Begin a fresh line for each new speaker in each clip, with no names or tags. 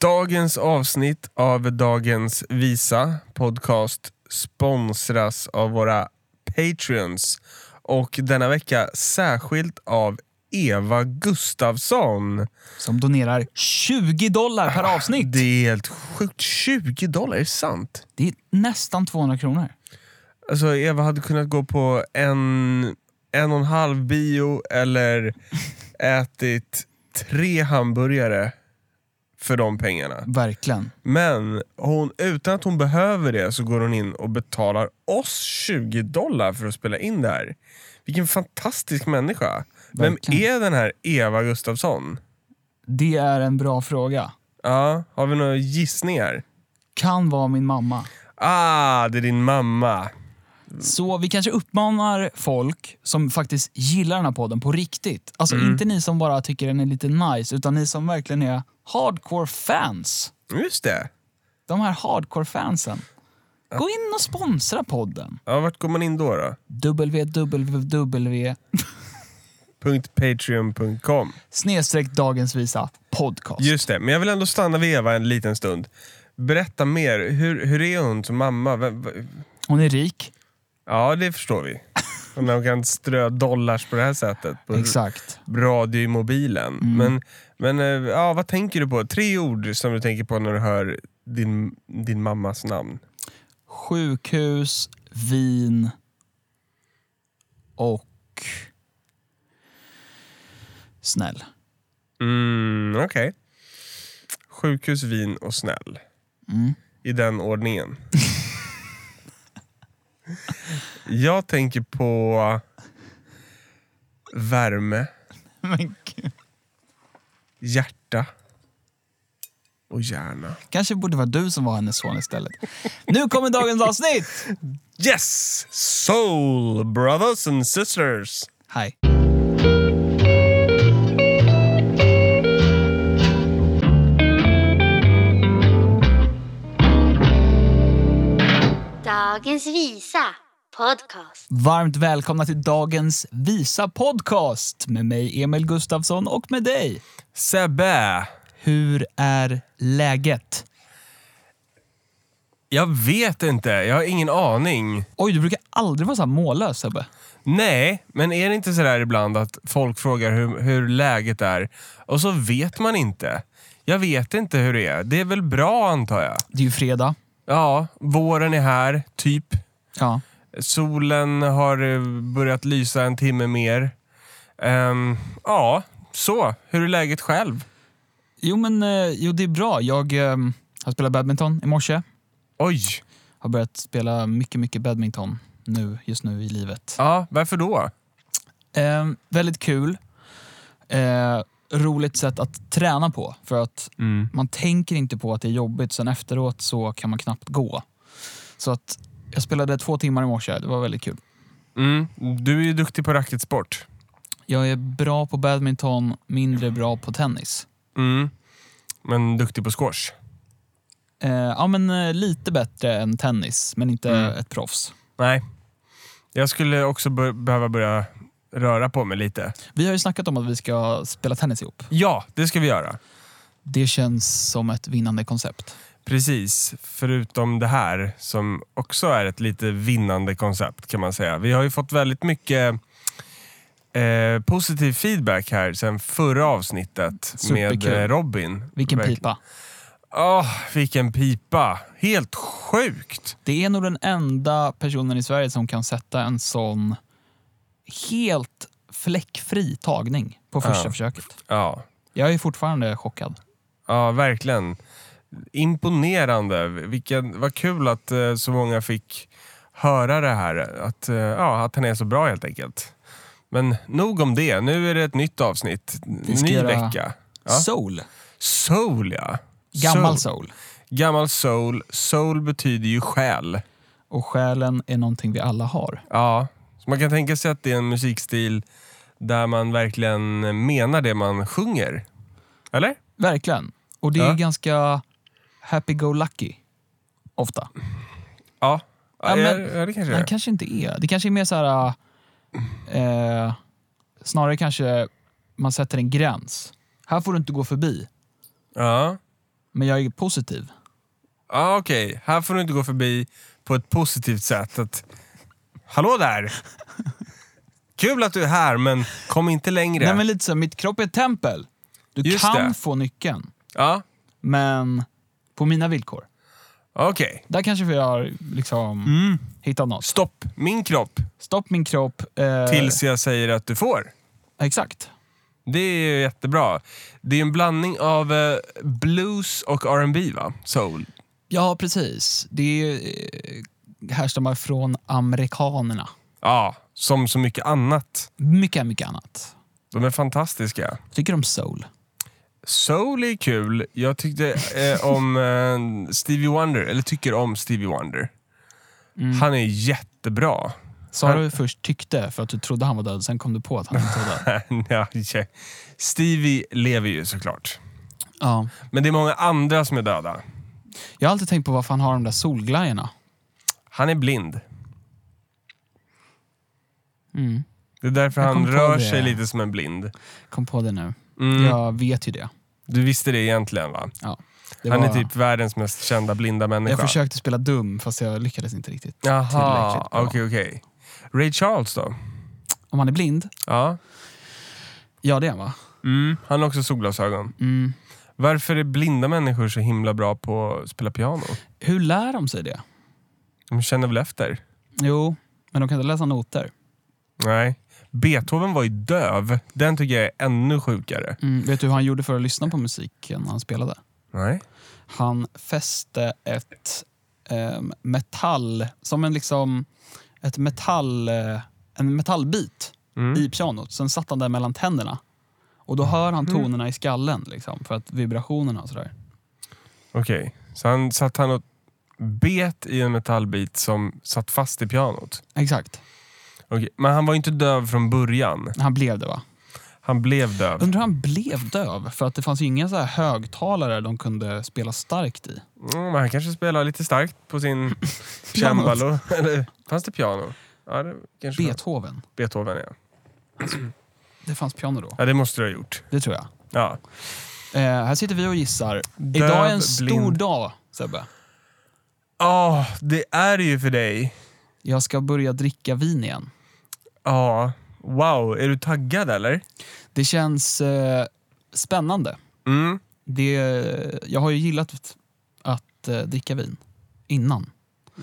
Dagens avsnitt av Dagens Visa podcast sponsras av våra Patreons och denna vecka särskilt av Eva Gustafsson.
Som donerar 20 dollar per avsnitt.
Det är helt sjukt. 20 dollar, är det sant?
Det är nästan 200 kronor.
Alltså Eva hade kunnat gå på en, en och en halv bio eller ätit tre hamburgare för de pengarna.
Verkligen.
Men hon, utan att hon behöver det så går hon in och betalar oss 20 dollar för att spela in det här. Vilken fantastisk människa. Vem
Verkligen.
är den här Eva Gustafsson?
Det är en bra fråga.
Ja, har vi några gissningar?
Kan vara min mamma.
Ah, det är din mamma.
Så vi kanske uppmanar folk som faktiskt gillar den här podden på riktigt. Alltså inte ni som bara tycker den är lite nice, utan ni som verkligen är hardcore fans.
Just det.
De här hardcore fansen. Gå in och sponsra podden.
Ja, vart går man in då? då?
www
.patreon.com
snedstreck dagens visa podcast.
Just det, men jag vill ändå stanna vid Eva en liten stund. Berätta mer. Hur, hur är hon som mamma? Vem, v-
Hon är rik.
ja, det förstår vi. Och När hon kan strö dollars på det här sättet. På
Exakt.
radio i mobilen. Men, men eh, ja, vad tänker du på? Tre ord som du tänker på när du hör din, din mammas namn.
Sjukhus, vin och snäll.
Mm, Okej. Sjukhus, vin och snäll. I den ordningen. Jag tänker på värme,
Men gud.
hjärta och hjärna.
Kanske borde det vara du som var hennes son istället. Nu kommer dagens avsnitt!
Yes! Soul brothers and sisters.
Hej.
Dagens visa podcast.
Varmt välkomna till dagens Visa podcast med mig Emil Gustafsson och med dig.
Sebbe.
Hur är läget?
Jag vet inte, jag har ingen aning.
Oj, du brukar aldrig vara så här mållös Sebbe.
Nej, men är det inte sådär ibland att folk frågar hur, hur läget är och så vet man inte. Jag vet inte hur det är. Det är väl bra antar jag.
Det är ju fredag.
Ja, våren är här, typ.
Ja.
Solen har eh, börjat lysa en timme mer. Ehm, ja, så. Hur är läget själv?
Jo, men eh, jo, det är bra. Jag eh, har spelat badminton i morse.
Oj!
Har börjat spela mycket, mycket badminton nu, just nu i livet.
Ja, varför då?
Eh, väldigt kul. Eh, roligt sätt att träna på. För att man tänker inte på att det är jobbigt. Sen efteråt så kan man knappt gå. Så att jag spelade två timmar i morse. Det var väldigt kul.
Mm, du är ju duktig på racketsport.
Jag är bra på badminton, mindre bra på tennis.
Mm. Men duktig på squash.
Eh, ja, men eh, lite bättre än tennis, men inte
Mm.
ett proffs.
Nej. Jag skulle också bör- behöva börja röra på mig lite.
Vi har ju snackat om att vi ska spela tennis ihop.
Ja, det ska vi göra.
Det känns som ett vinnande koncept.
Precis, förutom det här som också är ett lite vinnande koncept kan man säga. Vi har ju fått väldigt mycket eh, positiv feedback här sen förra avsnittet med
Superkul.
eh, Robin.
Vilken
Verkligen.
pipa.
Åh, vilken pipa! Helt sjukt!
Det är nog den enda personen i Sverige som kan sätta en sån helt fläckfri tagning på första
Ja.
försöket.
Ja,
Jag är fortfarande chockad.
ja verkligen. Imponerande. Vilken, vad kul att eh, så många fick höra det här. Att, eh, ja, att han är så bra helt enkelt. Men nog om det. Nu är det ett nytt avsnitt.
Vi ska
Ny
göra-
vecka. Ja.
Soul.
Soul ja.
Gammal
soul.
soul.
Gammal soul. Soul betyder ju själ.
Och själen är någonting vi alla har.
Ja. Så man kan tänka sig att det är en musikstil där man verkligen menar det man sjunger. Eller?
Verkligen. Och det är
Ja.
ganska happy-go-lucky. Ofta.
Ja.
Ja,
Ja,
men-
ja, det kanske det
Men
är.
kanske inte är. Det kanske är mer så här... Eh, snarare kanske man sätter en gräns. Här får du inte gå förbi.
Ja.
Men jag är positiv.
ah, okej. Här får du inte gå förbi på ett positivt sätt. Att, Hallå där! Kul att du är här, men kom inte längre.
Nej, men lite så, här, mitt kropp är ett tempel. Du
Just
kan
det.
få nyckeln,
Ja,
men på mina villkor.
okej.
Där kanske vi har liksom
Mm.
hittat något.
Stopp min kropp
Stopp min kropp. Eh,
tills jag säger att du får.
Exakt.
Det är ju jättebra. Det är en blandning av eh, blues och R&B va? Soul.
Ja, precis. Det är ju, eh, härstammar från amerikanerna.
Ja, som så mycket annat.
Mycket, mycket annat.
De är fantastiska.
Tycker om soul.
Soul är kul. Jag tyckte eh, om eh, Stevie Wonder, eller tycker om Stevie Wonder.
Mm.
Han är jättebra.
Sa du först tyckte för att du trodde han var död, sen kom du på att han inte var död.
Ja, ja. Stevie lever ju såklart.
Ja.
Men det är många andra som är döda.
Jag har alltid tänkt på varför han har de där solglajjorna.
Han är blind.
Mm.
Det är därför
Jag
han
kom på
rör
det.
sig lite som en blind.
Kom på det nu.
Mm.
Jag vet ju det.
Du visste det egentligen va?
Ja. det
han
var-
är typ världens mest kända blinda människa.
Jag försökte spela dum, fast jag lyckades inte riktigt.
Jaha,
tillräckligt bra.
okej okej. Ray Charles då?
Om han är blind?
Ja.
Ja, det är han va?
Mm. Han har också solglasögon.
Mm.
Varför är blinda människor så himla bra på att spela piano?
Hur lär de sig det?
De känner väl efter?
Jo, men de kan inte läsa noter.
Nej. Beethoven var ju döv. Den tycker jag är ännu sjukare.
Mm. Vet du hur han gjorde för att lyssna på musiken när han spelade?
Nej.
Han fäste ett ehm, metall, som en liksom, ett metall, eh, en metallbit
Mm.
i pianot. Sen satt han där mellan tänderna. Och då hör han
Mm.
tonerna i skallen, liksom, för att vibrationerna och sådär.
Okej. Så han satt han och bet i en metallbit som satt fast i pianot.
Exakt.
Okej, Men han var ju inte döv från början.
Han blev det va?
Han blev döv.
Undrar hur han blev döv? För att det fanns ju inga så här högtalare de kunde spela starkt i.
Mm, men han kanske spelar lite starkt på sin cembalo. Eller fanns det piano? Ja, det kanske var.
Beethoven.
Beethoven ja.
Det fanns piano då.
ja. Det måste du ha gjort.
Det tror jag.
Ja.
Eh, här sitter vi och gissar. Idag är en stor
blind.
dag, Sebbe.
Ja, det är det ju för dig.
Jag ska börja dricka vin igen.
Ja. Wow, är du taggad eller?
Det känns eh, spännande.
Mm.
Det, jag har ju gillat att eh, dricka vin innan.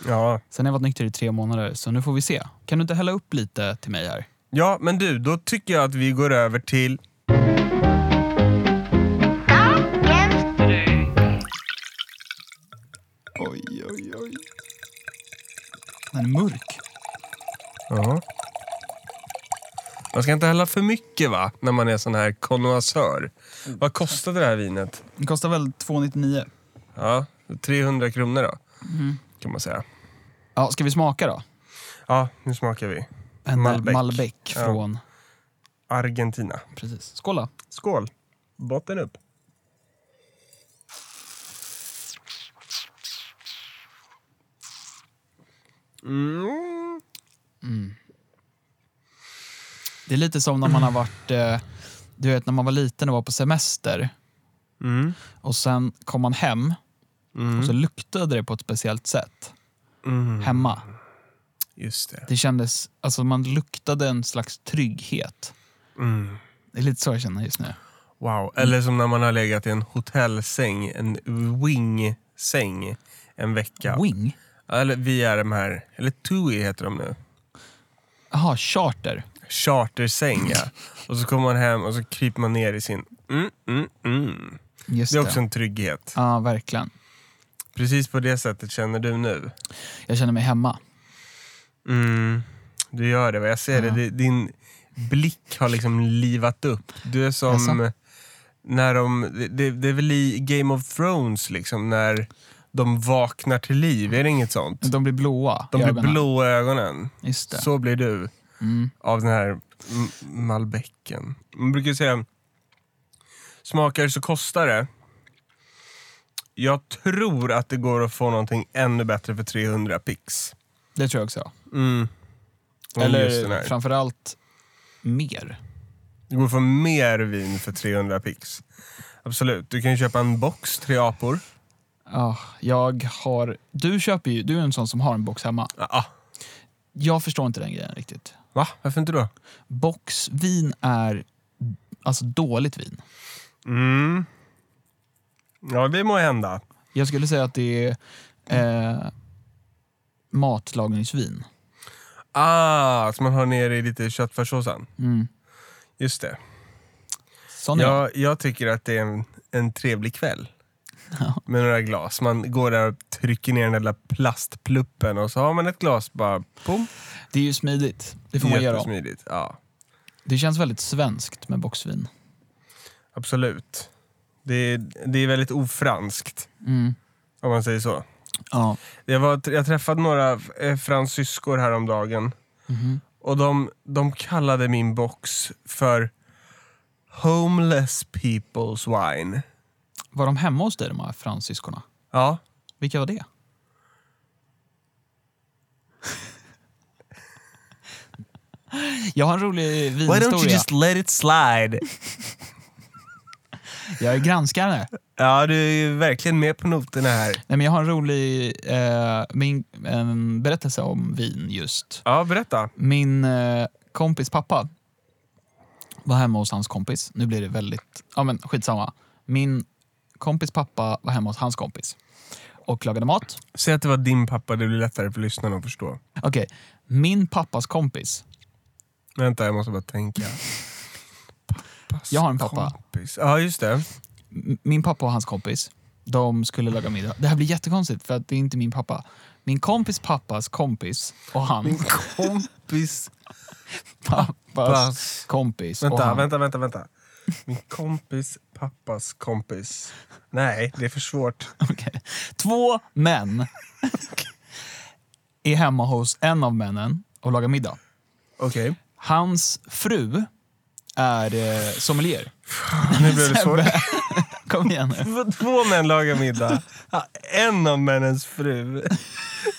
Ja.
Sen har jag varit nykter i tre månader, så nu får vi se. Kan du inte hälla upp lite till mig här?
ja, men du, då tycker jag att vi går över till...
Oj, oj, oj. Den är mörk.
Ja. Man ska inte hälla för mycket va, när man är sån här connoisseur. Vad kostade det här vinet?
Den kostar väl 2,99.
Ja, 300 kronor då, kan man säga.
Ja, ska vi smaka då?
Ja, nu smakar vi.
En
Malbec.
Malbec, Malbec
Ja.
från...
Argentina.
Precis. Skåla.
Skål! Botten upp. Mm.
Det är lite som när man har varit... Eh, du vet, när man var liten och var på semester
Mm.
och sen kom man hem och så luktade det på ett speciellt sätt
Mm.
hemma.
Just det.
Det kändes... Alltså man luktade en slags trygghet.
Mm.
Det är lite så jag känner just nu.
Wow. Eller som när man har legat i en hotellsäng, en wing-säng en vecka.
Wing?
Eller vi är de här, eller TUI heter de nu.
Jaha, charter.
Chartersäng
Mm.
ja. Och så kommer man hem och så kryper man ner i sin... Mm, mm, mm.
Just
Det
det.
är också en trygghet.
Ja, verkligen.
Precis på det sättet känner du nu.
Jag känner mig hemma.
Mm, du gör det, va? jag ser det. Di- Din blick har liksom livat upp. Du är som
Jaså?
när de, det, det är väl i Game of Thrones liksom, när de vaknar till liv, är det inget sånt?
De blir blåa.
De
i
blir
ögonen.
blå i ögonen.
Just det.
Så blir du
Mm.
av den här m- malbecken. Man brukar säga, smakar så kostar det. Jag tror att det går att få någonting ännu bättre för 300 pix.
Det tror jag också.
Mm. Och just den
Eller
här.
framförallt mer.
Det går att få mer vin för 300 pix. Absolut. Du kan ju köpa en box, tre apor.
Ja, jag har... Du köper ju... Du är en sån som har en box hemma.
Ah, ah.
Jag förstår inte den grejen riktigt.
Va? Varför inte då?
Boxvin är alltså dåligt vin.
Mm. Ja, det må hända.
Jag skulle säga att det är eh, matlagningsvin.
Ah, som man har ner i lite köttfärssåsen.
Mm.
Just det.
Sån är jag.
Jag, jag tycker att det är en, en trevlig kväll. Med några glas. Man går där och trycker ner den där lilla plastpluppen och så har man ett glas bara... Pum.
Det är ju smidigt. Det får man göra om.
Jättesmidigt. Ja,
Det känns väldigt svenskt med boxvin.
absolut. Det är, det är väldigt ofranskt,
Mm.
om man säger så.
Ja.
Jag, var, jag träffade några eh, fransyskor häromdagen.
Mhm.
Och de, de kallade min box för Homeless People's Wine.
Var de hemma hos dig, de här fransyskorna?
Ja.
Vilka var det? Jag har en rolig vinhistoria.
let it slide?
Jag är granskare.
ja, du är ju verkligen med på noterna här.
Nej, men jag har en rolig eh, min, en berättelse om vin just.
Ja, berätta.
Min eh, kompis pappa var hemma hos hans kompis. Nu blir det väldigt... Ja, men skitsamma. Min kompis pappa var hemma hos hans kompis och lagade mat.
Säg att det var din pappa, det blir lättare för lyssnarna att förstå.
Okej, min pappas kompis
Vänta, jag måste bara tänka. Pappas
Jag har en pappa.
Kompis. Ja, just det.
M- min pappa och hans kompis, de skulle laga middag. Det här blir jättekonstigt för att det är inte min pappa. Min kompis pappas kompis och
Min
hans
kompis...
pappas
Pass.
kompis och
Vänta,
han.
vänta, vänta, vänta. Min kompis pappas kompis. Nej, det är för svårt.
Okej. Två män är hemma hos en av männen och lagar middag.
Okej.
Hans fru är eh, sommelier.
Nu blev det svårt.
Kom igen nu.
Två män lagar middag. Ja, En av männens fru.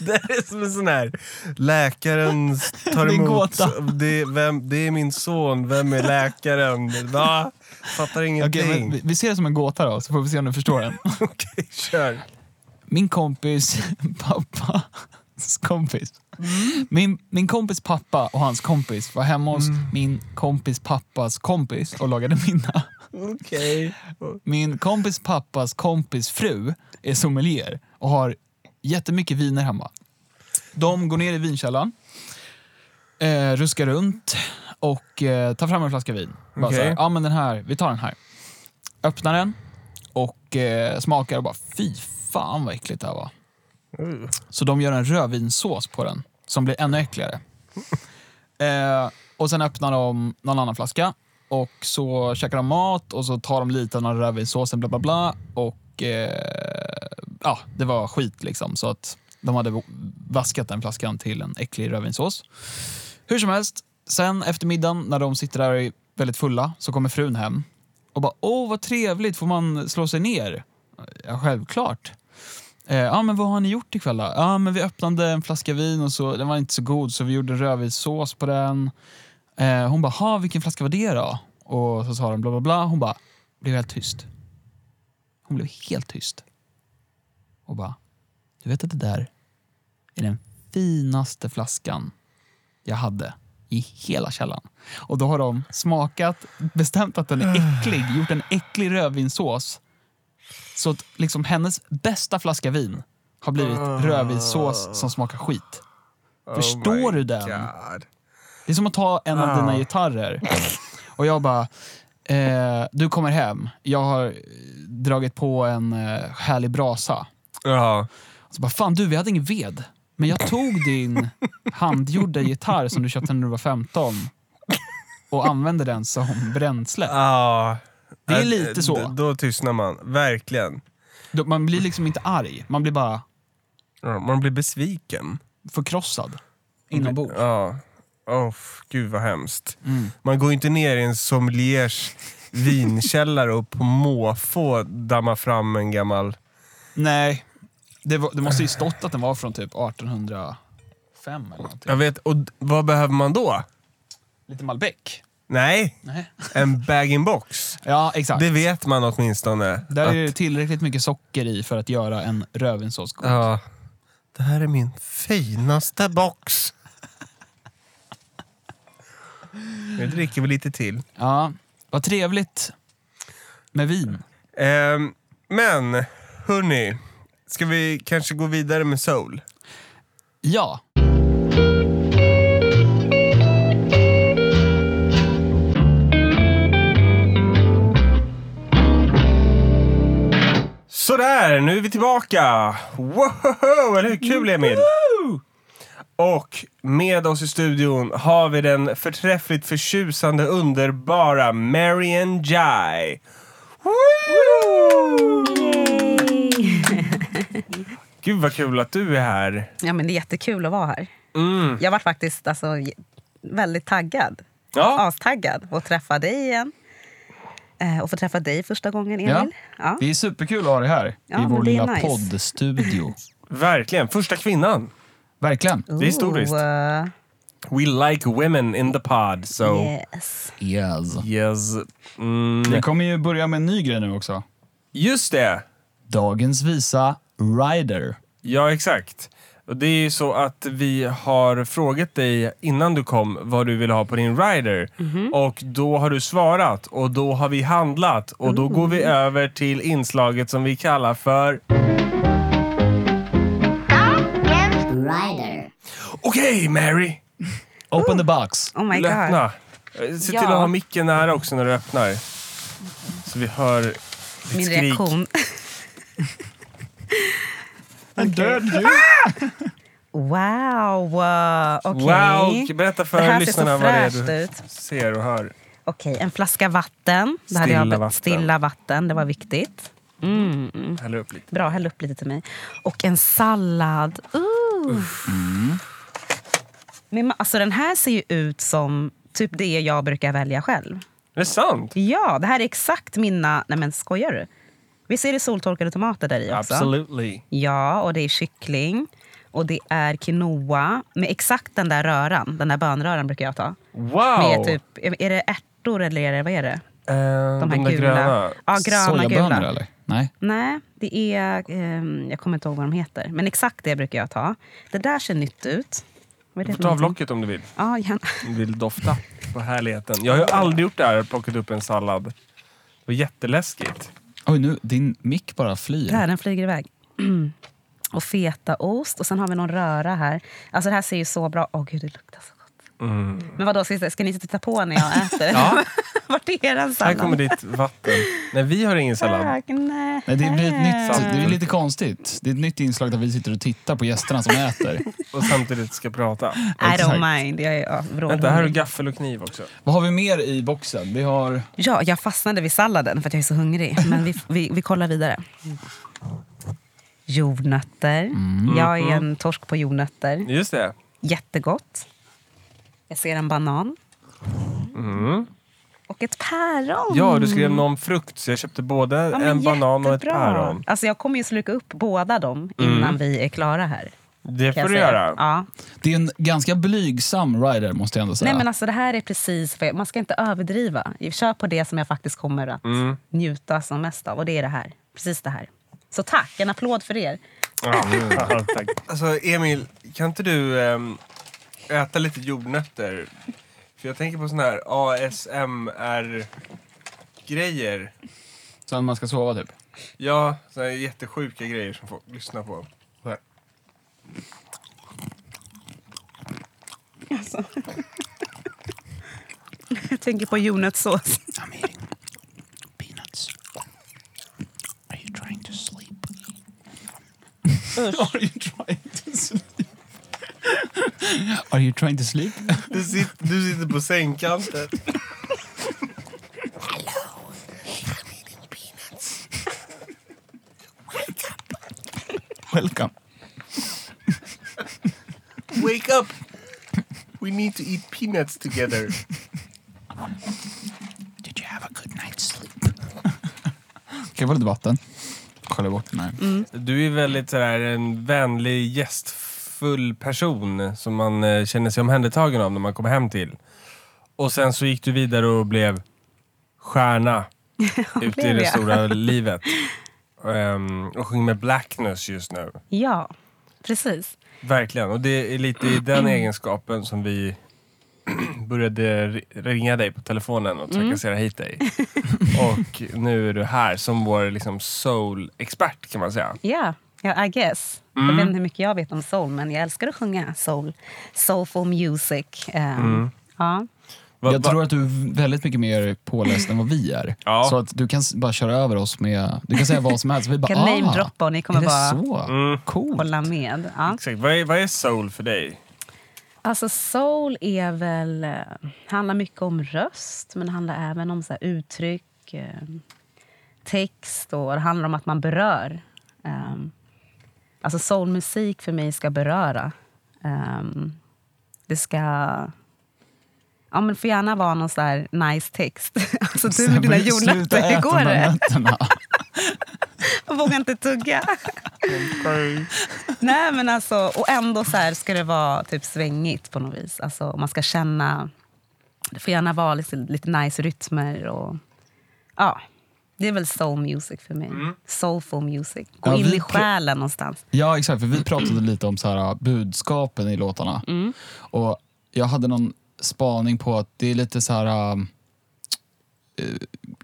Det är som en sån här... Läkaren tar
Det är en
emot.
gåta.
Det är, vem, det är min son. Vem är läkaren? Va? Fattar ingenting.
Okej,
Okej,
men vi- vi ser det som en gåta då, så får vi se om du förstår den.
kör.
min kompis pappas kompis. Min, min kompis pappa och hans kompis var hemma hos min kompis pappas kompis och lagade middag.
Okej.
Min kompis pappas kompis fru är sommelier och har jättemycket viner hemma. De går ner i vinkällaren, eh, ruskar runt och eh, tar fram en flaska vin. Bara
Okej.
så här, ja men den här, vi tar den här. Öppnar den och eh, smakar och bara fy fan vad äckligt det här var.
Uh.
Så de gör en rödvinssås på den som blir ännu äckligare. Eh, och sen öppnar de någon annan flaska och så käkar de mat och så tar de lite av den här rödvinssåsen bla bla bla. Och eh, ja, det var skit liksom. Så att de hade vaskat den flaskan till en äcklig rödvinssås. Hur som helst, sen efter middagen när de sitter där och är väldigt fulla så kommer frun hem och bara åh vad trevligt, får man slå sig ner? Ja, självklart. Eh, Ja, men vad har ni gjort ikväll då? Ja, men vi öppnade en flaska vin och så, den var inte så god så vi gjorde rödvinssås på den. Eh, hon bara, ha vilken flaska var det då? Och så sa de bla bla bla. Hon bara, blev helt tyst. Hon blev helt tyst. Och bara, du vet att det där är den finaste flaskan jag hade i hela källan. Och då har de smakat, bestämt att den är äcklig, gjort en äcklig rödvinssås. Så att liksom hennes bästa flaska vin har blivit rödvinssås som smakar skit. Förstår du den?
Oh God.
Det är som att ta en av
Ah.
dina gitarrer. Och jag bara, eh, du kommer hem. Jag har eh, dragit på en eh, härlig brasa.
Ja.
Och så bara, fan du, vi hade ingen ved. Men jag tog din handgjorda gitarr som du köpte när du var 15 och använde den som bränsle.
Ja.
Det är
Äh,
lite så.
d- Då tystnar man. Verkligen.
Då- Man blir liksom inte arg, man blir bara
Ja, Man blir besviken.
förkrossad inombords.
Ja. Oh, gud vad hemskt.
Mm.
Man går ju inte ner i en sommeliers vinkällare och på måfå damma fram en gammal...
Nej, det, var, det måste ju stått att den var från typ 1805 eller någonting.
Jag vet, och d- vad behöver man då?
Lite Malbec.
Nej,
Nej.
en bag-in-box.
Ja, exakt.
Det vet man åtminstone.
Där är
att-
ju tillräckligt mycket socker i för att göra en rödvinssås god.
Ja. Det här är min finaste box. Nu dricker vi lite till.
Ja, vad trevligt med vin.
Ehm, men, hörni. Ska vi kanske gå vidare med soul?
Ja,
Sådär, nu är vi tillbaka! Woho! Eller hur kul, Emil? Och med oss i studion har vi den förträffligt förtjusande, underbara Marian Jai. Woo! Gud vad kul att du är här.
Ja, men det är jättekul att vara här.
Mm.
Jag var faktiskt alltså, j- väldigt taggad.
Ja.
Astaggad. Och träffa dig igen. Eh, och få träffa dig första gången,
Ja.
Emil. Ja.
det är superkul att ha dig här
Ja,
i
men
vår
det är
lilla
nice.
poddstudio.
Verkligen, första kvinnan.
Verkligen.
är historiskt.
Ooh, eh,
We like women in the pod, so...
yes.
Yes.
Yes. Mm.
Vi kommer ju börja med en ny grej nu också.
Just det!
Dagens visa Rider.
Ja, exakt. Och det är ju så att vi har frågat dig innan du kom vad du vill ha på din rider.
Mhm.
Och då har du svarat och då har vi handlat. Och då går
Mm.
vi över till inslaget som vi kallar för...
Rider.
Okej, Mary!
Open the box.
Oh my god.
Öppna! Eh, Se till
Ja.
att ha micken nära också när du öppnar. Så vi hör ditt
Min
skrik.
reaktion.
En död djur.
Ah! Wow! eh, Okej.
Wow! Berätta
Det
för
här ser
lyssnarna
så
vad det är
fräscht
du
ut.
ser och hör.
Okej, en flaska vatten. Det hade
Stilla
jag,
vatten.
Stilla vatten, det var viktigt. Mm.
Häll upp lite.
Bra, häll upp lite till mig. Och en sallad. Ooh. Men ma- alltså, den här ser ju ut som typ det jag brukar välja själv.
Det är sant!
Ja, det här är exakt mina... Nej men skojar du? Visst är det soltorkade tomater där i också?
Absolutely.
Ja, och det är kyckling. Och det är quinoa med exakt den där röran. Den där bönröran brukar jag ta.
Wow!
Med typ, är det ärtor eller är det, vad är det?
Eh, de,
De här
där
gula.
gröna.
Ja, gröna
Sojabönor
gula.
eller? Nej.
Nej, det är... ehm, jag kommer inte ihåg vad de heter. Men exakt det brukar jag ta. Det där ser nytt ut. Vad är
Du får
det för
ta av
någonting?
locket om du vill.
Ja, gärna.
Om du vill dofta på härligheten. Jag har ju aldrig gjort det här, plockat upp en sallad. Det var jätteläskigt.
Oj, nu, din mick bara flyr.
Där, den flyger iväg. Och fetaost. Och sen har vi någon röra här. Alltså det här ser ju så bra... Åh gud, det luktar så gott. Men vadå, ska, ska ni inte titta på när jag äter?
Mm. Ja.
Vart är den
Här
sallad?
kommer ditt vatten. Nej, vi har ingen sallad.
Tack, nej.
Nej, det blir ett nytt,
Salt.
det är lite konstigt. Det är ett nytt inslag där vi sitter och tittar på gästerna som äter.
Och samtidigt ska prata.
I
Exakt.
don't mind. Jag är ja,
Vänta, här har du
vrålhungrig.
gaffel och kniv också.
Vad har vi mer i boxen? Vi har...
Ja, jag fastnade vid salladen för att jag är så hungrig. Men vi, vi, vi kollar vidare. Jordnötter.
Mm.
Jag är en torsk på jordnötter.
Just det.
Jättegott. Jag ser en banan. Och ett päron.
Mm. Ja, du skrev någon frukt så jag köpte både
Mm. Ja, men
en banan och ett
jättebra.
päron. Mm.
Alltså, jag kommer ju sluka upp båda dem innan vi är klara här.
Det får
kan jag
du
säga.
göra.
Ja.
Det är en ganska blygsam rider måste jag ändå säga.
Nej, men alltså, det här är precis... vad jag- Man ska inte överdriva. Kör på det som jag faktiskt kommer att
Mm.
njuta som mest av. Och det är det här. Precis det här. Så tack, en applåd för er.
Ja, tack. Alltså Emil, kan inte du ehm, äta lite jordnötter? För jag tänker på såna här ASMR-grejer.
Sen man ska sova typ.
Ja, såna här jättesjuka grejer som folk lyssnar på. Så här.
Alltså. Jag tänker på jordnötssås.
I'm eating peanuts. Are you trying to sleep? Are you trying to sleep? Are you trying to sleep?
Du, sit, du sitter på sängkanten.
Welcome.
Wake up! We need to eat peanuts together.
Did you have a good night's sleep? Kan jag få lite vatten? Skölja bort den här.
Mm.
Du är väldigt sådär, en vänlig, gästfull person som man eh, känner sig omhändertagen av när man kommer hem till. Och sen så gick du vidare och blev stjärna ute i
blev
det
jag.
stora livet. Ehm, och sjunger med Blackness just nu.
Ja, precis.
Verkligen. Och det är lite i den egenskapen som vi började ri- ringa dig på telefonen
Mm.
och trakassera hit dig. Och nu är du här som vår liksom soul-expert kan man säga.
Ja, ja, I guess. Jag
Mm.
vet inte hur mycket jag vet om soul, men jag älskar att sjunga soul. Soulful music. Ehm,
Mm.
ja.
Va-
jag
va-
tror att du är väldigt mycket mer påläst än vad vi är.
Ja.
Så att du kan s- bara köra över oss med... Du kan säga vad som helst. Vi bara, "Ah,
Kan namedroppa och ni kommer
är det
bara-
så?
Mm.
Coolt.
Hålla med. Ja.
Exakt. Vad är, vad är soul för dig?
Alltså soul är väl, eh, handlar mycket om röst men handlar även om så här, uttryck, eh, text och det handlar om att man berör. Um, alltså soulmusik för mig ska beröra. Um, det ska... Ja, men får gärna vara någon så här nice text. Alltså du med dina jordnötter, hur går det?
det?
Jag vågar inte tugga. Nej, men alltså, och ändå så här ska det vara typ svängigt på något vis. Alltså, och man ska känna... Det får gärna vara lite, lite nice rytmer. Och, ja, det är väl soul music för mig. Soulful music. Gå
Ja,
in
vi pr-
i själen någonstans.
Ja, exakt. För vi pratade lite om så här, äh, budskapen i låtarna. Och Jag hade någon spaning på att det är lite så här... Um,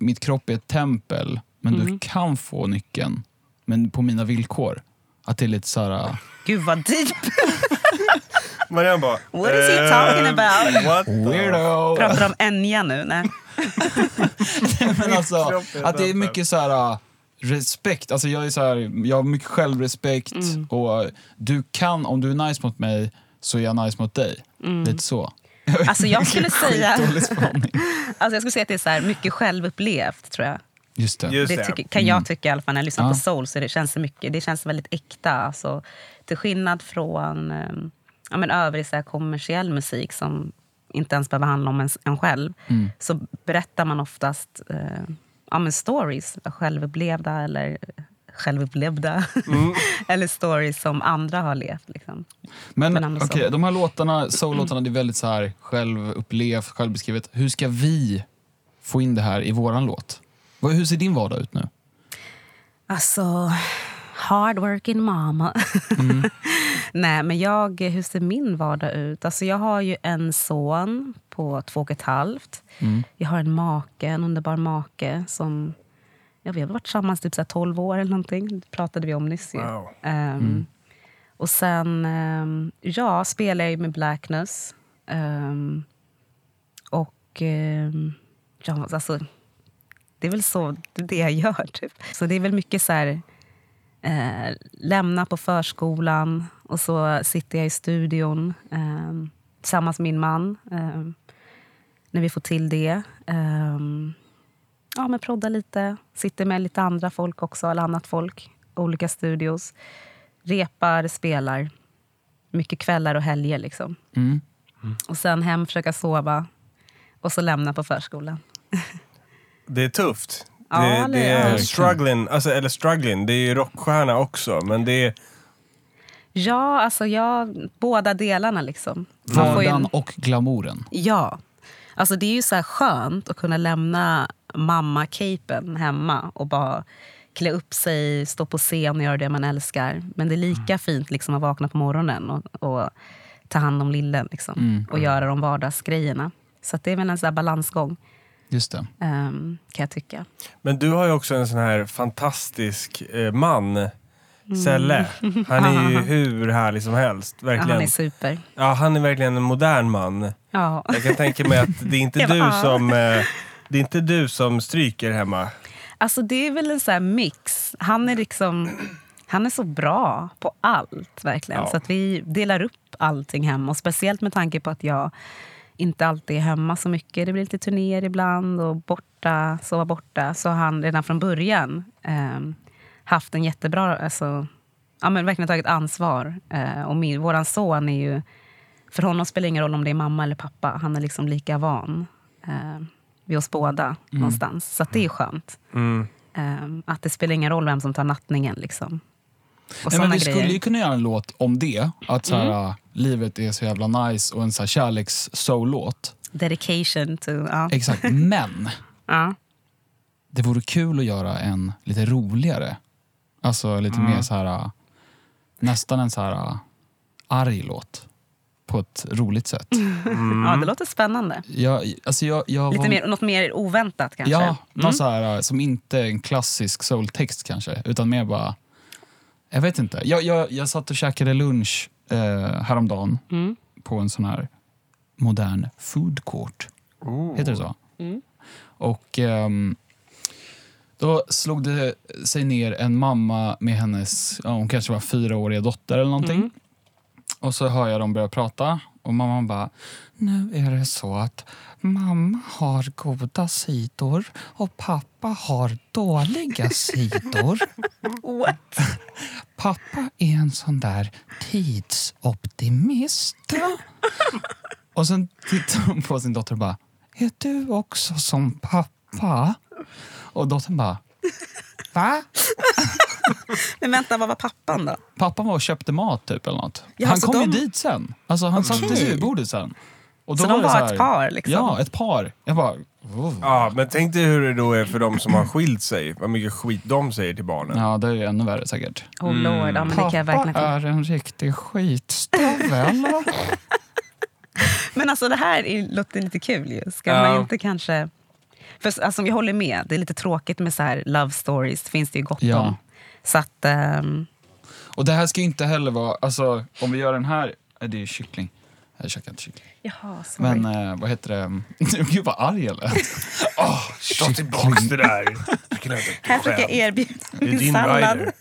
mitt kropp är ett tempel, men du kan få nyckeln. Men på mina villkor. Att det är lite så här... uh,
Gud vad deep!
Marianne bara... eh,
What is he talking about?
What the-
Weirdo!
Pratar om Enya nu? Nej.
Men alltså,
kropp är
att det är
tempel.
mycket så här... uh, Respekt. Alltså jag, är så här, jag har mycket självrespekt. Och uh, du kan, Om du är nice mot mig, så är jag nice mot dig. Lite så.
Alltså, jag skulle säga...
Dålig spaning.
Alltså jag skulle säga att det är så här mycket självupplevt, tror jag.
Just det.
Just
Det
det.
tycker, kan jag tycka i alla fall när jag lyssnar
Ja.
på soul. Så det, känns så mycket, det känns väldigt äkta. Alltså, till skillnad från eh, ja, men övrig så här, kommersiell musik som inte ens behöver handla om en, en själv så berättar man oftast eh, ja, men stories, självupplevda eller självupplevda eller stories som andra har levt. Liksom. Men
Men
ändå så.
okej, de här låtarna, soul-låtarna, det är väldigt så här självupplevt, självbeskrivet. Hur ska vi få in det här i våran låt? Vad- Hur ser din vardag ut nu?
Alltså, hard working mama. Nej, men jag, hur ser min vardag ut? Alltså, jag har ju en son på två och ett halvt. Jag har en make, en underbar make som... Ja, vi har väl varit tillsammans typ så här 12 år eller någonting. Det pratade vi om nyss. Ju.
Wow.
Ehm, Och sen ehm, ja, spelar jag ju med Blackness. Ehm, och ehm, ja, alltså, det är väl så det är det jag gör. Typ. Så det är väl mycket så här, eh, lämna på förskolan och så sitter jag i studion ehm, tillsammans med min man. ehm, när vi får till det. Ehm, ja, men prodda lite, sitter med lite andra folk också, eller annat folk, olika studios. Repar, spelar. Mycket kvällar och helger. liksom.
Mm.
Och sen hem, försöka sova och så lämna på förskolan.
Det är tufft.
Ja,
det, det
det är
är
det.
struggling, alltså, eller struggling, det är ju rockstjärna också. Men det är,
Ja, alltså jag, båda delarna. liksom. Man får ju-
Vardagen och glamouren.
Ja. Alltså det är ju så här skönt att kunna lämna mamma-capen hemma och bara klä upp sig, stå på scen och göra det man älskar. Men det är
Mm.
lika fint liksom att vakna på morgonen och, och ta hand om lillen liksom,
Mm.
och göra de vardagsgrejerna. Så att det är väl en så här balansgång,
Just det.
ehm, kan jag tycka.
men du har ju också en sån här fantastisk eh, man, Selle. Han är ju hur härlig som helst.
Mm. Ja,
Verkligen.
han är super.
Ja, han är verkligen en modern man.
Ja.
Jag kan tänka mig att det är inte
Jag bara,
du
"Ah."
som, eh, det är inte du som stryker hemma.
Alltså det är väl en sån här mix. Han är liksom... Han är så bra på allt, verkligen.
Ja.
Så att vi delar upp allting hemma. Och speciellt med tanke på att jag inte alltid är hemma så mycket. Det blir lite turnéer ibland och borta, sova borta. Så har han redan från början ehm, haft en jättebra... Alltså, ja, men verkligen tagit ansvar. Eh, och min, våran son är ju... För honom spelar det ingen roll om det är mamma eller pappa. Han är liksom lika van eh, vid oss båda någonstans. Så att det är skönt. Ehm, att det spelar ingen roll vem som tar nattningen. Liksom. Och
Nej, men
såna
vi
grejer. Mm.
skulle ju kunna göra en låt om det. Att så här, livet är så jävla nice och en så här kärleks-soul-låt.
Dedication to... Ja.
Exakt. Men
ja.
det vore kul att göra en lite roligare. Alltså lite
Mm.
mer så här... äh, Nästan en så här äh, arg låt. På ett roligt sätt.
ja,
Mm.
det låter spännande.
Jag, alltså jag, jag
Lite
var-
mer, något mer oväntat kanske. Mm.
Ja, någon så här, äh, som inte är en klassisk soultext kanske. Utan mer bara... Jag vet inte. Jag, jag, jag satt och käkade lunch eh, häromdagen
Mm.
på en sån här modern food court. Heter det så?
Mm.
Och ehm, då slog det sig ner en mamma med hennes, ja, hon kanske var fyraåriga dotter eller någonting.
Mm.
Och så hör jag dem börja prata och mamman bara, nu är det så att mamma har goda sidor och pappa har dåliga sidor.
What?
Pappa är en sån där tidsoptimist. och sen tittar hon på sin dotter och bara, är du också som pappa? Och dottern bara, va?
Men vänta, vad var pappan då?
Pappan var och köpte mat typ eller något.
Ja,
han
alltså
kom ju
de-
dit sen. Alltså han satt vid huvudbordet sen. Och då
Så de
det
var
här-
ett par, liksom?
Ja, ett par. Jag bara, "Oh." "Wow."
Ja, men tänk dig hur det då är för de som har skilt sig. Vad mycket skit de säger till barnen.
Ja, det är ju ännu värre säkert.
Oh lord, ja, men det kan jag
Pappa
verkligen tänka-
är en riktig skitstövel.
Men alltså det här är, låter lite kul ju. Ska
Ja.
man inte kanske... För s- alltså, jag håller med, det är lite tråkigt med så här love stories. Det finns det ju gott
Ja.
om. Så att... ehm,
Och det här ska ju inte heller vara, alltså om vi gör den här, Nej, det är ju kyckling. Jag käkar inte kyckling.
jaha, sorry.
Men eh, vad heter det? Gud vad arg jag lät.
Ta tillbaks det där.
här fick jag erbjuda
Det är
min
din
sallad.
rider.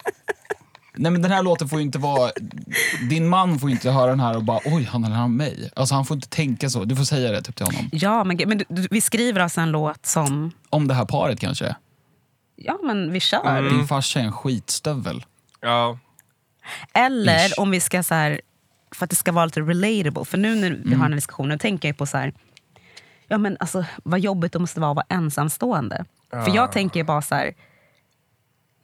Nej men den här låten får ju inte vara, din man får ju inte höra den här och bara oj han eller han mig. Alltså han får inte tänka så, du får säga det typ till honom.
Ja, men, gud, men du, du, vi skriver alltså en låt som...
Om det här paret kanske.
Ja, men vi kör.
Din farsa är en skitstövel.
Ja.
Eller
Ish.
om vi ska så här, för att det ska vara lite relatable. För nu när vi har den här diskussionen tänker jag ju på så här, ja men alltså vad jobbigt det måste vara att vara ensamstående. För jag tänker ju bara så här,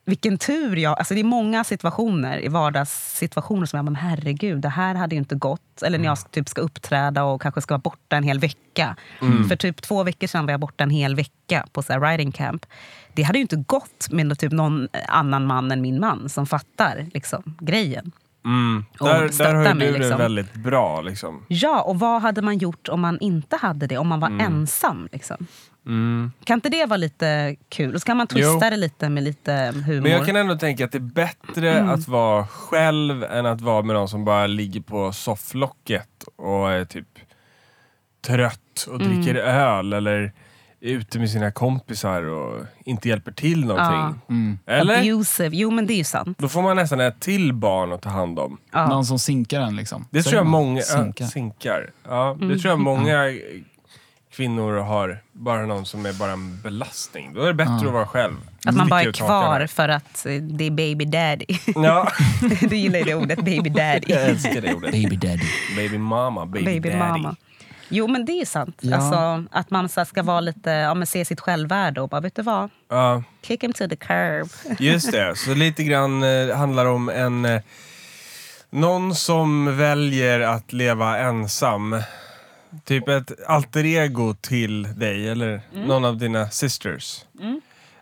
vilken tur jag... Alltså det är många situationer i vardagssituationer som jag bara, men herregud, det här hade ju inte gått. Eller när
Mm.
jag typ ska uppträda och kanske ska vara borta en hel vecka.
Mm.
För typ två veckor sedan var jag borta en hel vecka på så här riding camp. Det hade ju inte gått med nå- typ någon annan man än min man som fattar liksom, grejen.
Mm.
Och
Där, där
stötta
har ju
mig,
du det
liksom.
väldigt bra. Liksom.
Ja, och vad hade man gjort om man inte hade det? Om man var
Mm.
ensam? Liksom. Kan inte det vara lite kul? Och så kan man twista
Jo.
det lite med lite humor.
Men jag kan ändå tänka att det är bättre
Mm.
att vara själv än att vara med någon som bara ligger på sofflocket och är typ trött och
Mm.
dricker öl eller är ute med sina kompisar och inte hjälper till någonting. Eller?
Abusive. Jo, men Mm. det är ju sant.
Då får man nästan ett till barn att ta hand om.
Ja.
Någon som sinkar en liksom.
Det
Säger
tror jag
man?
många... Sinkar.
Sinkar.
sinkar. Ja, det
Mm.
tror jag många kvinnor har. Bara någon som är bara en belastning. Då är det bättre att vara själv.
Att man bara är
Sticka ut hakan
kvar
här.
för att eh, det är baby daddy.
Ja.
du gillar ju det ordet, baby daddy.
Jag älskar det ordet.
Baby daddy.
Baby mama, baby,
baby
daddy.
mama. Jo, men det är sant.
Ja.
Alltså, att man så här ska vara lite, ja, men se sitt självvärde och bara, vet du vad?
Ja,
Kick him to the curb.
just det. Så lite grann eh, handlar om en... Eh, någon som väljer att leva ensam. Typ ett alter ego till dig eller
Mm.
någon av dina sisters.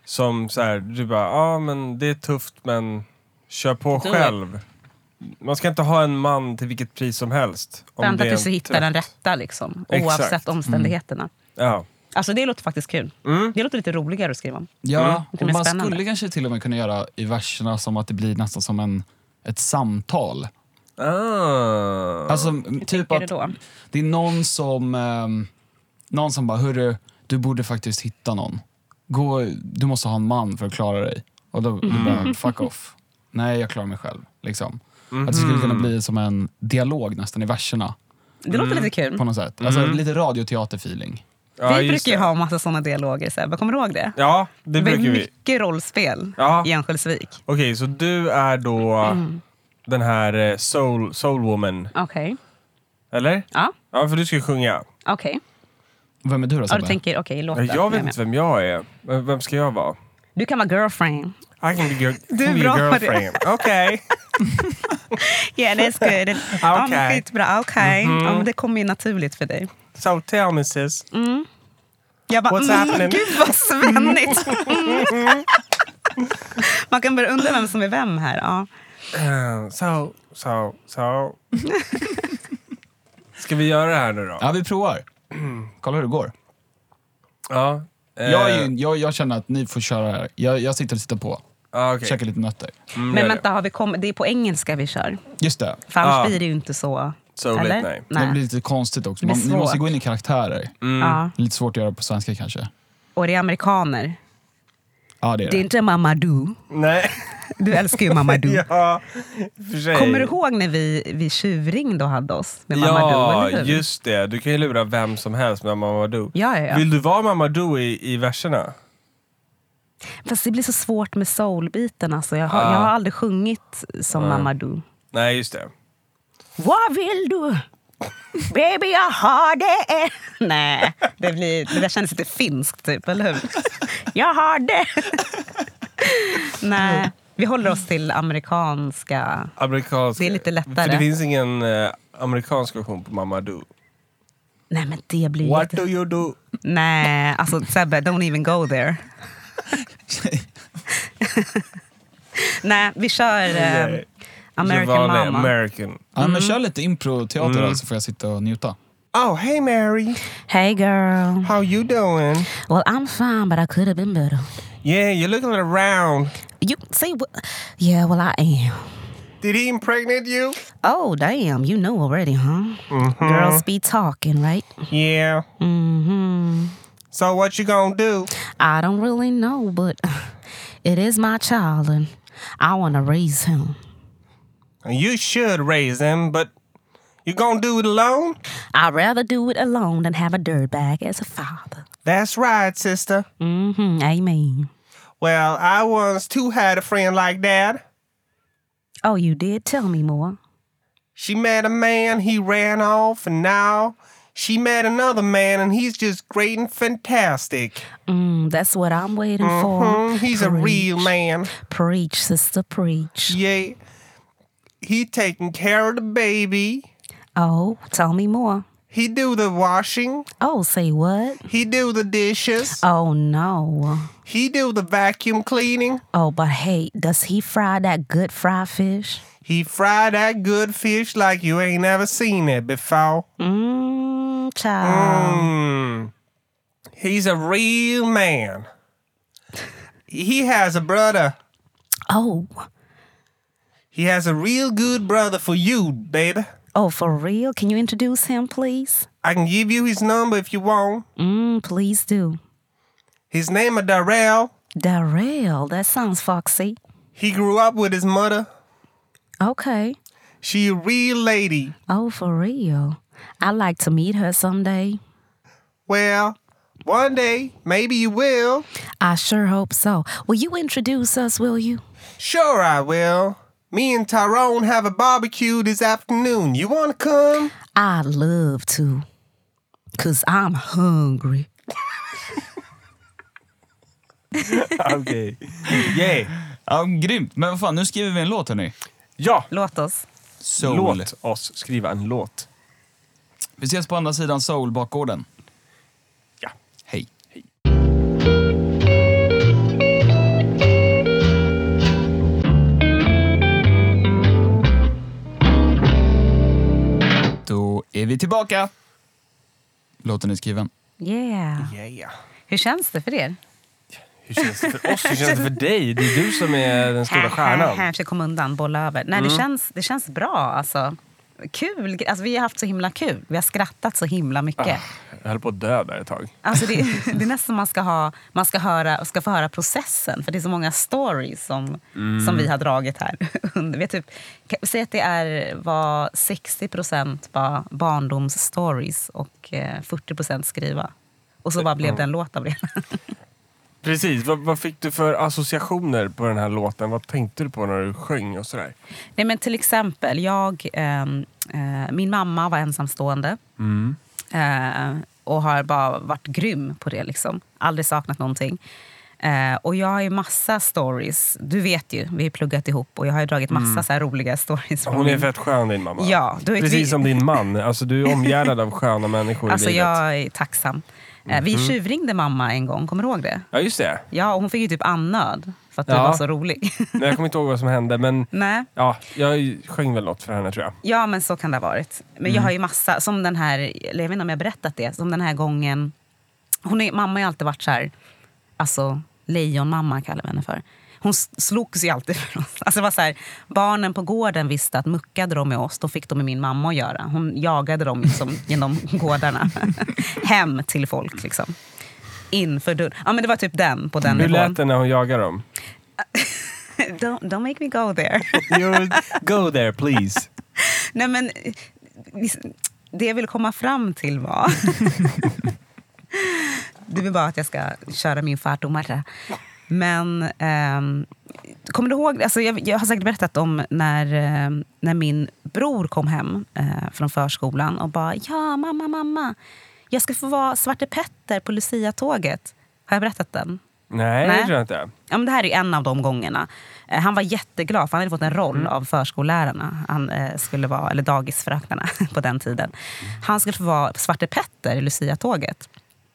Som så här, du bara, ja ah, men det är tufft men kör på
Do it."
själv. Man ska inte ha en man till vilket pris som helst. om
Vänta
det är
tills du
en
hittar
trött-
den rätta, liksom,
Exakt. Mm.
oavsett omständigheterna.
Ja.
Alltså, det låter faktiskt kul.
Mm.
Det låter lite roligare att skriva om.
Ja,
Det blir
och man
spännande.
skulle kanske till och med kunna göra i verserna som att det blir nästan som en, ett samtal.
Ah.
Alltså typ
tänker
att
du då?
det är någon som, ehm, någon som bara, hörru, du borde faktiskt hitta någon. Gå, du måste ha en man för att klara dig. Och då, du
Mm.
bara, fuck off. Nej, jag klarar mig själv. Liksom. Att det
Mm.
skulle kunna bli som en dialog nästan i verserna.
Det låter lite kul.
På något sätt. Alltså
Mm.
lite radioteaterfeeling.
Mm. ja,
vi
just
brukar ju
det.
ha massa såna dialoger. Så här. Kommer du ihåg det?
Ja, det
det
brukar
blir
vi.
mycket rollspel
Ja.
i Örnsköldsvik.
Okej, så du är då den här eh, soul, soul woman,
Okej.
eller?
Ja,
Ja, för du ska ju sjunga.
okej.
Vem är du då
Ja, du
Sebbe?
tänker, okej, låten.
Jag vet
med.
inte vem jag är. Men Vem ska jag vara?
Du kan vara girlfriend.
I can be, your, du
är
can be
bra
your
på det.
girlfriend. Okej.
Yeah, that's good. Ja,
Okej.
men
Mhm.
skitbra. Okej. Ja, men det kommer ju naturligt för dig.
So tell me sis,
Mm. Jag bara,
What's
mm,
happening? Mm.
gud vad svennigt. Man kan börja undra vem som är vem här. Ja.
Eh, so, so, so. Ska vi göra det här nu då?
Ja, vi provar. Kolla hur det går.
Ja. eh,
Jag, är ju, jag, jag känner att ni får köra här. Jag, jag sitter och tittar på.
ja, okej.
Käkar lite nötter.
Mm, gör
Men
det.
vänta, har vi kommit? det är på engelska vi kör.
Just det.
För annars
Ah.
blir det ju inte så...
Så
eller?
roligt, nej.
Det blir lite konstigt också.
Det blir
Man, ni måste
svårt.
gå in i karaktärer.
Mm.
Ja.
Lite svårt att göra på svenska kanske.
Och det är amerikaner.
Ja, det är
Det är
det.
inte Mamadou.
Nej.
Du älskar ju Mamadou.
ja, i och för sig.
Kommer du ihåg när vi, vi tjuvringde och hade oss med Mamadou?
Ja,
eller hur?
just det. Du kan ju lura vem som helst med Mamadou.
Ja, ja, ja.
Vill du vara Mamadou i, i verserna?
Fast det blir så svårt med soulbiten. Alltså. Jag, har,
Ah.
jag har aldrig sjungit som Mamadou.
Nej, just det.
Vad vill du? Baby, jag har det! Nej, det, blir, det där kändes lite finskt, typ, eller hur? Jag har det! Nej, vi håller oss till amerikanska.
Amerikansk.
Det är lite lättare.
För det finns ingen eh, amerikansk version på Mamadou.
Nej, men det blir
What
jätte-
do you do?
Nej, alltså Sebbe, don't even go there. Nej, vi kör eh,
Nej.
American
Vanlig
Mama.
American.
Ja,
Mm.
men kör lite improteater mm. så får jag sitta och njuta.
Oh, hey Mary.
hey girl,
How you doing?
well I'm fine but I could have been better.
Yeah, you're looking around.
You see, wh- yeah, well I am.
Did he impregnate you?
Oh damn, you know already, huh?
Mm-hmm.
Girls be talking, right?
Yeah.
Mm-hmm.
So what you gonna do?
I don't really know, but it is my child and I want to raise him.
You should raise him, but you gonna do it alone?
I'd rather do it alone than have a dirtbag as a father.
That's right, sister.
Mm-hmm, amen.
Well, I once too had a friend like that.
Oh, you did? Tell me more.
She met a man, he ran off, and now she met another man, and he's just great and fantastic.
Mm, that's what I'm waiting
Hmm,
for.
he's a real
Preach.
man.
Preach, sister, preach.
Yeah. He taking care of the baby.
Oh, tell me more.
He do the washing.
Oh, say what?
He do the dishes.
Oh, no.
He do the vacuum cleaning.
Oh, but hey, does he fry that good fried fish?
He fry that good fish like you ain't never seen it before.
Mmm, child.
Mm. He's a real man. He has a brother.
Oh,
He has a real good brother for you, baby.
oh, for real? Can you introduce him, please?
I can give you his number if you want.
Mmm, please do.
His name is Darrell.
Darrell, that sounds foxy.
He grew up with his mother.
Okay.
She a real lady.
Oh, for real? I'd like to meet her someday.
Well, one day, maybe you will.
I sure hope so. Will you introduce us, will you?
Sure, I will. Me and Tyrone have a barbecue this afternoon. You want to come?
I'd love to. Cause I'm hungry.
Okej. Yay.
Ja, grymt. Men vad fan, nu skriver vi en låt hörni.
Ja,
Låt oss.
Soul.
låt oss skriva en låt.
Vi ses på andra sidan soul-bakgården.
Ja.
Hej. Då är vi tillbaka. Låten är skriven.
Yeah.
Yeah.
Hur känns det för er?
Hur känns det för oss? Hur känns det för dig? Det är du som är den stora
Här, här,
stjärnan. Mm.
försöker komma undan, bolla över. Nej, det, känns, det känns bra. Alltså. Kul. gre- Alltså, vi har haft så himla kul. Vi har skrattat så himla mycket.
Ah, Jag höll på att dö där ett tag.
Alltså, det, det är nästan man ska, ha, man ska, höra, ska få höra processen. För det är så många stories som,
Mm.
som vi har dragit här. Under- vi har typ, kan- säg att det är, var 60 procent var barndomsstories och eh, 40 procent skriva. Och så bara blev det en låt av det.
Precis. Vad, vad fick du för associationer på den här låten? Vad tänkte du på när du sjöng och sådär?
Nej, men till exempel, jag, ehm, eh, min mamma var ensamstående.
Mm.
Eh, och har bara varit grym på det. Liksom. Aldrig saknat någonting. Eh, och jag har ju massa stories. Du vet ju, vi har pluggat ihop och jag har ju dragit massa så här roliga stories. från
Mm. Hon är
min-
fett skön din mamma.
Ja, du vet,
Precis
vi-
som din man. Alltså, du är omgärdad av sköna människor
Alltså
i livet. Mhm.
jag är tacksam. Eh, vi tjuvringde mamma en gång, kommer du ihåg det?
Ja, just det.
Ja, och hon fick ju typ annöd för att du
Ja.
var så rolig.
Men jag kommer inte ihåg vad som hände, men
Nej.
ja, jag sjöng väl något för henne tror jag.
Ja, men så kan det ha varit. Men jag har ju massa, som den här, eller jag vet inte om jag har berättat det, som den här gången. Hon är, mamma har ju alltid varit så här, alltså lejonmamma kallar vi henne för. Hon s- slogs ju alltid för oss. Alltså det var så här, barnen på gården visste att muckade de med oss, då fick de med min mamma att göra. Hon jagade dem liksom genom gårdarna. Hem till folk liksom. Inför dörren. Ja men det var typ den, på den
Hur
nivån.
lät det när hon jagar dem?
Don't, don't make me go there.
You go there please.
Nej, men eh, vis- det jag vill komma fram till var... du vill bara att jag ska köra min fartomare. Men ehm, kommer du ihåg, alltså jag, jag har säkert berättat om när, eh, när min bror kom hem eh, från förskolan och bara “ja, mamma, mamma, jag ska få vara Svarte Petter på Lucia-tåget”. Har jag berättat den?
Nej,
Nej.
det tror jag inte.
Ja, men det här är ju en av de gångerna. Eh, han var jätteglad, för han hade fått en roll av förskollärarna. Han eh, skulle vara, eller dagisfröknarna på den tiden. Han skulle få vara Svarte Petter i Lucia-tåget.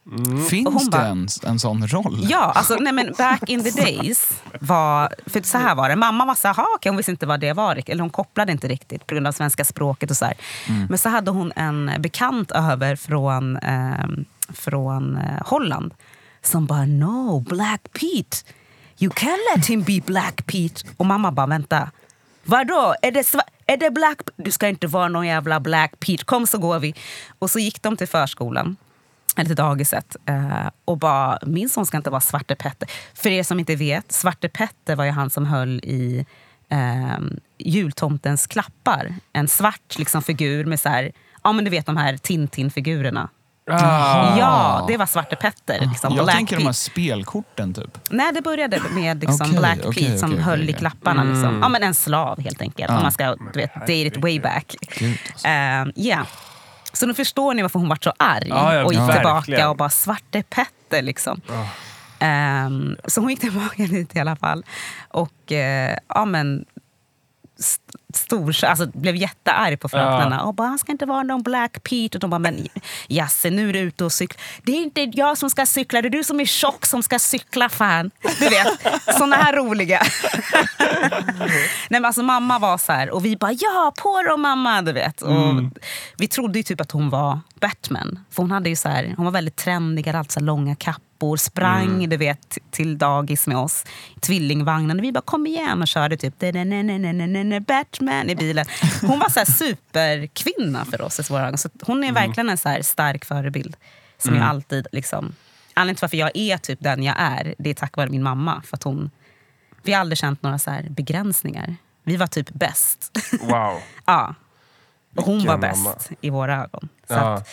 Och
Finns
hon
det
bara-
ens en sån roll?
Ja, alltså nej men back in the days var... För så här var det. Mamma var så här, "Aha, okej, hon visste inte vad det var. riktigt." Eller hon kopplade inte riktigt på grund av svenska språket och så här. Men så hade hon en bekant över från, eh, från eh, Holland som bara “No, Black Pete. You can let him be Black Pete”. Och mamma bara “Vänta, vadå? Är det, sva- är det Black... Du ska inte vara någon jävla Black Pete. Kom så går vi.” Och så gick de till förskolan eller till dagiset eh, och bara, min son ska inte vara Svarte Petter. För er som inte vet, Svarte Petter var ju han som höll i eh, jultomtens klappar. En svart liksom, figur med så här, ja men du vet de här Tintin-figurerna.
Ah.
Ja, det var Svarte Petter. Liksom,
jag
Black
tänker de
Pete.
här spelkorten typ.
Nej, det började med liksom
Okej,
Black
okej,
Pete som
okej,
höll
okej, Mm.
i
okej.
klapparna. Liksom. Ja, men en slav helt enkelt. Om man ska du vet, date it way back.
Gud, alltså.
Ehm, ja. Så nu förstår ni varför hon var så arg
Ja, ja,
och gick
verkligen.
tillbaka och bara “Svarte Petter” liksom. Ehm, så hon gick tillbaka dit i alla fall. Och eh, ja, men st- stor, alltså blev jättearg på fröknarna. Och bara, han ska inte vara någon Black Pete. Och de bara, men Jasse nu är du ute och cyklar. Det är inte jag som ska cykla, det är du som är tjock som ska cykla fan. Du vet, såna här roliga. Nej, men alltså, mamma var så här, och vi bara, ja på dem mamma. Du vet. Och Vi trodde ju typ att hon var Batman. För hon, hade ju så här, hon var väldigt trendig, hade alltid så här långa kappor, sprang du vet, till dagis med oss, tvillingvagnen. Och vi bara kom igen och körde typ "Da-da-na-na-na-na-na, Batman i bilen. Hon var så här superkvinna för oss i våra ögon. Så hon är verkligen en så här stark förebild. Som jag alltid liksom, anledningen till varför jag är typ den jag är, det är tack vare min mamma. För att hon, vi har aldrig känt några så här begränsningar. Vi var typ bäst.
Wow.
ja. Och hon var
Vilken
bäst
mamma.
i våra ögon. Så ja.
Ja.
Att,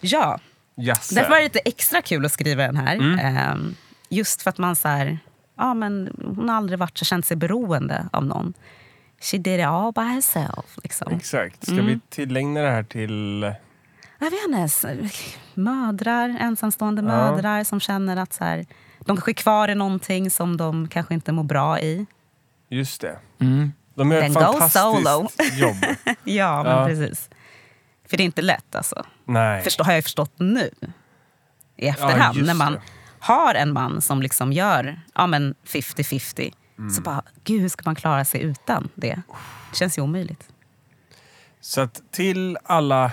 ja.
Jasse.
Därför var det lite extra kul att skriva den här.
Mm.
Ehm, just för att man så här, ja, men hon har aldrig varit så känt sig beroende av någon. She did it all by herself. Liksom.
Exakt. Ska vi tillägna det här till...
Jag vet inte, s- mödrar, ensamstående mödrar som känner att så här, de kanske är kvar i någonting som de kanske inte mår bra i.
Just det.
Mm.
De gör
Then
ett
go
fantastiskt
solo.
jobb.
Ja, men
Ja.
precis. För det är inte lätt alltså.
Nej.
Förstå, har jag förstått nu i efterhand.
just
när man
det.
har en man som liksom gör ja, men 50-50.
Mm.
Så bara, gud hur ska man klara sig utan det? Det känns ju omöjligt.
Så att till alla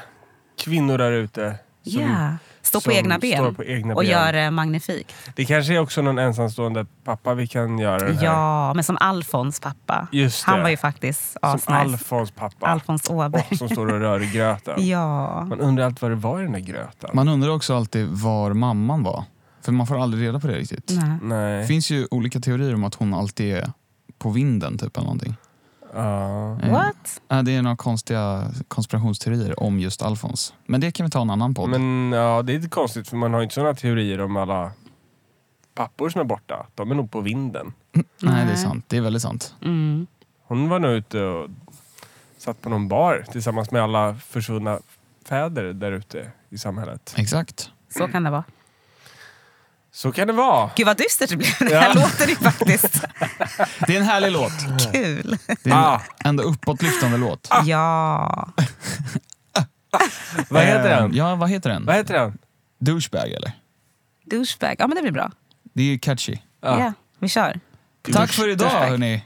kvinnor där ute.
Ja,
som-
Stå på
som
egna ben
står på egna
och
ben.
gör det magnifikt.
Det kanske är också någon ensamstående pappa vi kan göra det här.
Ja, men som Alfons pappa.
Äh. Just
Han
det.
var ju faktiskt
Som
asnice.
Alfons pappa.
Alfons Åberg.
Åh, som står och rör i gröten.
Ja.
Man undrar alltid vad det var i den där gröten.
Man undrar också alltid var mamman var. För man får aldrig reda på det riktigt.
Nej.
Det
Nej.
finns ju olika teorier om att hon alltid är på vinden typ eller någonting.
Ja.
Eh,
What?
nej, det är några konstiga konspirationsteorier om just Alfons. Men det kan vi ta en annan podd.
Men ja, det är lite konstigt för man har ju inte sådana teorier om alla pappor som är borta. De är nog på vinden.
nej, det är
Nej.
sant. Det är väldigt sant.
Mm.
Hon var nog ute och satt på någon bar tillsammans med alla försvunna fäder där ute i samhället.
Exakt.
Så kan det vara.
Så kan det vara.
Gud vad dystert det blev. Det här
Ja.
låter ju faktiskt
Det är en härlig låt.
kul.
Det är en
Ah.
ändå uppåtlyftande
Ah,
låt.
Ah.
Ja.
Vad heter
Eh,
den?
Ja, vad heter den?
Vad heter den?
Douchebag eller?
Douchebag. Ja men det blir bra.
Det är ju catchy.
Ja.
Ja.
Vi kör.
Tack för idag
Douchebag.
hörni.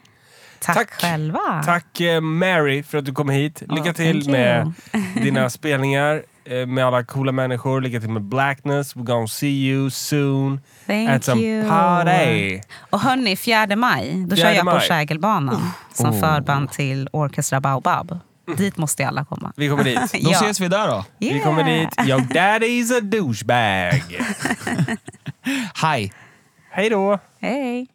Tack,
Tack.
själva.
Tack eh, Mary för att du kom hit. Lycka
Ja,
till
thank
med dina spelningar, eh, med alla coola människor. Lycka till med Blackness. We're gonna see you soon
Thank
at some
you.
party.
Och hörni, 4 maj, då kör
Fjärde
jag på
maj. Oh.
Kägelbanan som förband till Orchestra Baobab. Dit måste alla komma.
Vi kommer dit.
Då ses vi där då.
Vi kommer dit. Your daddy's a douchebag.
Hej.
Hej då!
Hej.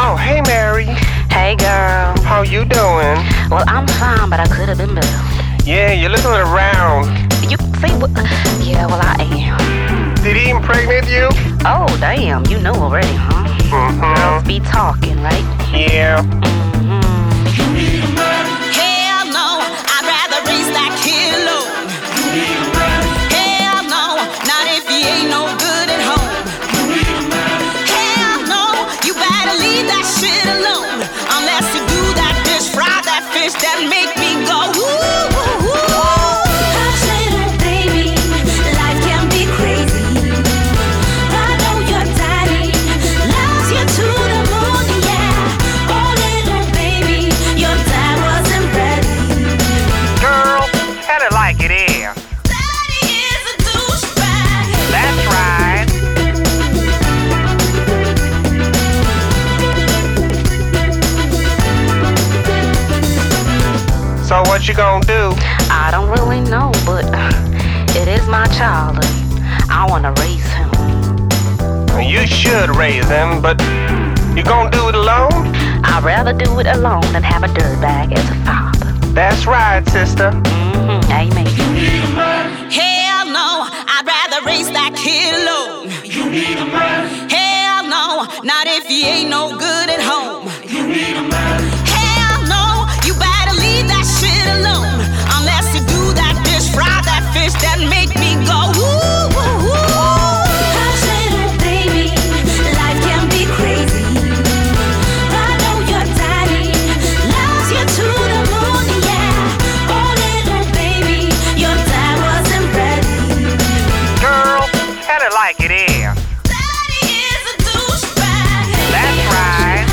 Oh, hey, Mary.
Hey girl.
How you doing?
Well, I'm fine, but I could have been better.
Yeah, you're looking around.
You see what? Yeah, well, I am.
Did he impregnate you?
Oh, damn. You know already, huh?
Mm-hmm.
Be talking, right?
Yeah.
Hell no. I'd rather raise that kid alone. Hell no. Not if he ain't no good at home. Hell no. You better leave that shit alone. Unless you do that dish, fry that fish, that make me go ooh. ooh, ooh.
Girl, tell it like it is. That's right. So what you gonna do?
I don't really know, but it is my child. and I want to raise him.
You should raise him, but you gonna do it alone?
I'd rather do it alone than have a dirtbag as a father.
That's right, sister.
Mm-hmm. Amen. Hell no, I'd rather raise that kid alone. Hell no, not if he ain't no good at home. Hell no, you better leave that shit alone. Unless you do that dish, fry that fish, that make me go ooh. ooh, ooh.
Girl, tell it like it is. That's right.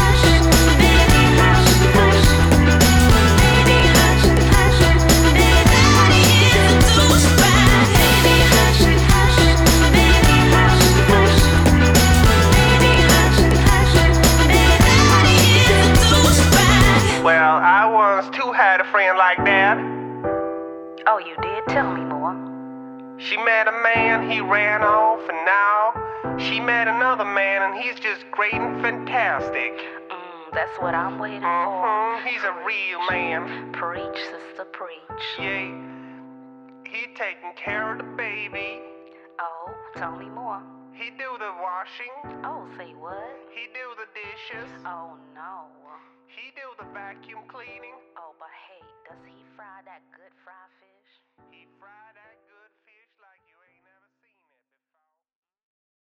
Well, I once too had a friend like that.
Oh, you did tell me more.
She met a man, he ran off, and now she met another man, and he's just great and fantastic.
Mm, that's what I'm waiting for.
hmm He's a real man.
Preach, sister, preach.
Yay. He taking care of the baby.
Oh, tell me more.
He do the washing.
Oh, say what?
He do the dishes.
Oh, no.
He do the vacuum cleaning.
Oh, but hey, does he fry that good fried fish?
He fry that